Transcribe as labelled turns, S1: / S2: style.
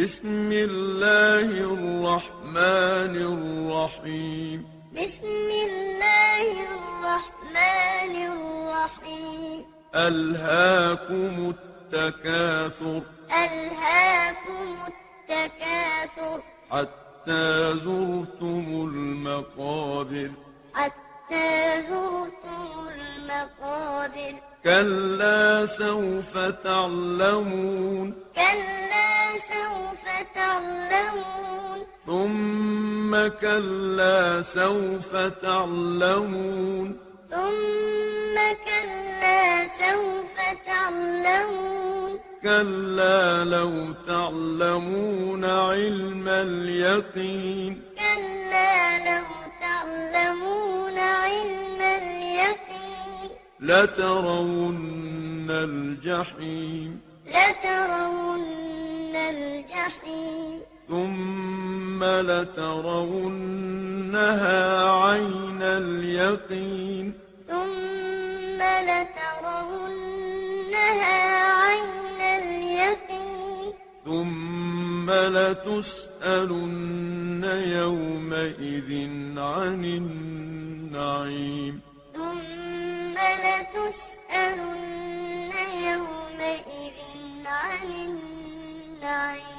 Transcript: S1: بسم الله الرحمن الرحيم
S2: بسم الله الرحمن الرحيم
S1: ألهاكم التكاثر
S2: ألهاكم التكاثر
S1: حتى زرتم المقابر
S2: حتى زرتم المقابر
S1: كلا سوف تعلمون
S2: كلا سوف تعلمون
S1: ثم كلا سوف تعلمون
S2: ثم كلا سوف تعلمون
S1: كلا لو تعلمون علم اليقين
S2: كلا لو تعلمون علم اليقين
S1: لترون الجحيم
S2: لترون الجحيم
S1: ثم لترونها عين اليقين
S2: ثم لترونها عين اليقين
S1: ثم لتسألن يومئذ عن النعيم
S2: ثم لتسألن يومئذ عن النعيم